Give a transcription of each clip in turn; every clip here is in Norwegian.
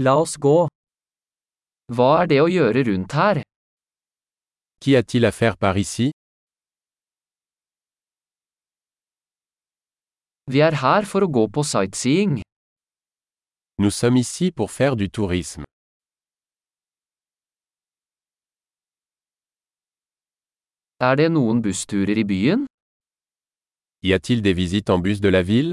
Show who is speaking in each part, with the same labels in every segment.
Speaker 1: La oss gå. Hva er det å gjøre rundt her?
Speaker 2: Qu'y a-t-il à faire par ici
Speaker 1: Vi er her for å gå på sightseeing.
Speaker 2: Nous sommes ici pour faire du tourisme.
Speaker 1: Er det noen bussturer i byen?
Speaker 2: Y a-t-il des visites en bus de la ville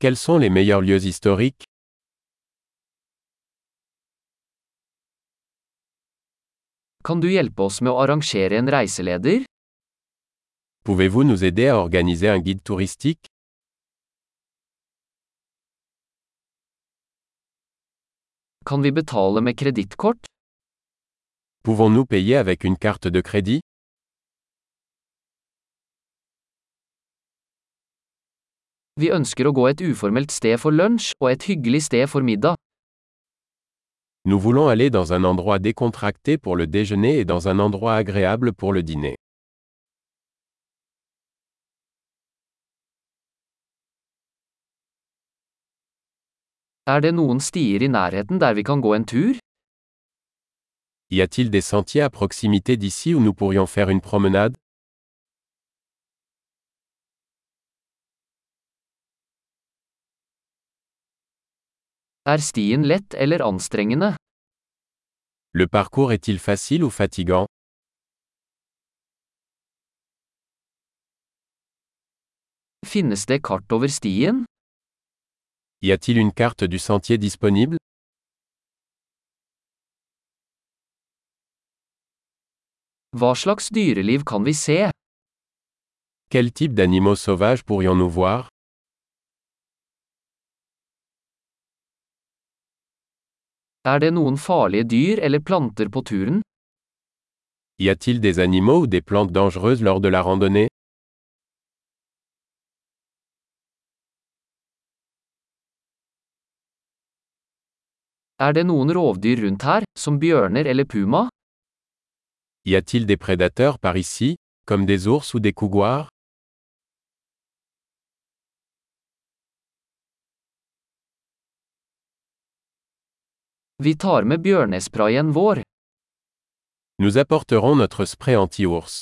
Speaker 2: Quels sont les meilleurs lieux historiques
Speaker 1: Kan du hjelpe oss med å arrangere en reiseleder?
Speaker 2: Pouvez-vous nous aider à organiser un guide touristique
Speaker 1: Kan vi betale med kredittkort?
Speaker 2: Pouvons-nous payer avec une carte de crédit
Speaker 1: Vi ønsker å gå et uformelt sted for lunsj og et hyggelig sted for middag.
Speaker 2: Nous voulons aller dans un endroit décontracté pour le déjeuner et dans un endroit agréable pour le dîner.
Speaker 1: Er det noen stier i nærheten der vi kan gå en tur?
Speaker 2: Y a-t-il des sentiers à proximité d'ici où nous pourrions faire une promenade
Speaker 1: Er stien lett eller anstrengende?
Speaker 2: Le parcours est-il facile ou fatigant
Speaker 1: Finnes det kart over stien?
Speaker 2: Y a-t-il une carte du sentier disponible
Speaker 1: Hva slags dyreliv kan vi se?
Speaker 2: Quel type d'animaux sauvages pourrions-nous voir
Speaker 1: Er det noen farlige dyr eller planter på turen?
Speaker 2: Y a-t-il des animaux ou des plantes dangereuses lors de la randonnée
Speaker 1: Er det noen rovdyr rundt her, som bjørner eller puma?
Speaker 2: Y a-t-il des prédateurs par ici, comme des ours ou des couguars
Speaker 1: Vi tar med bjørnesprayen vår.
Speaker 2: Nous apporterons notre spray anti-ours.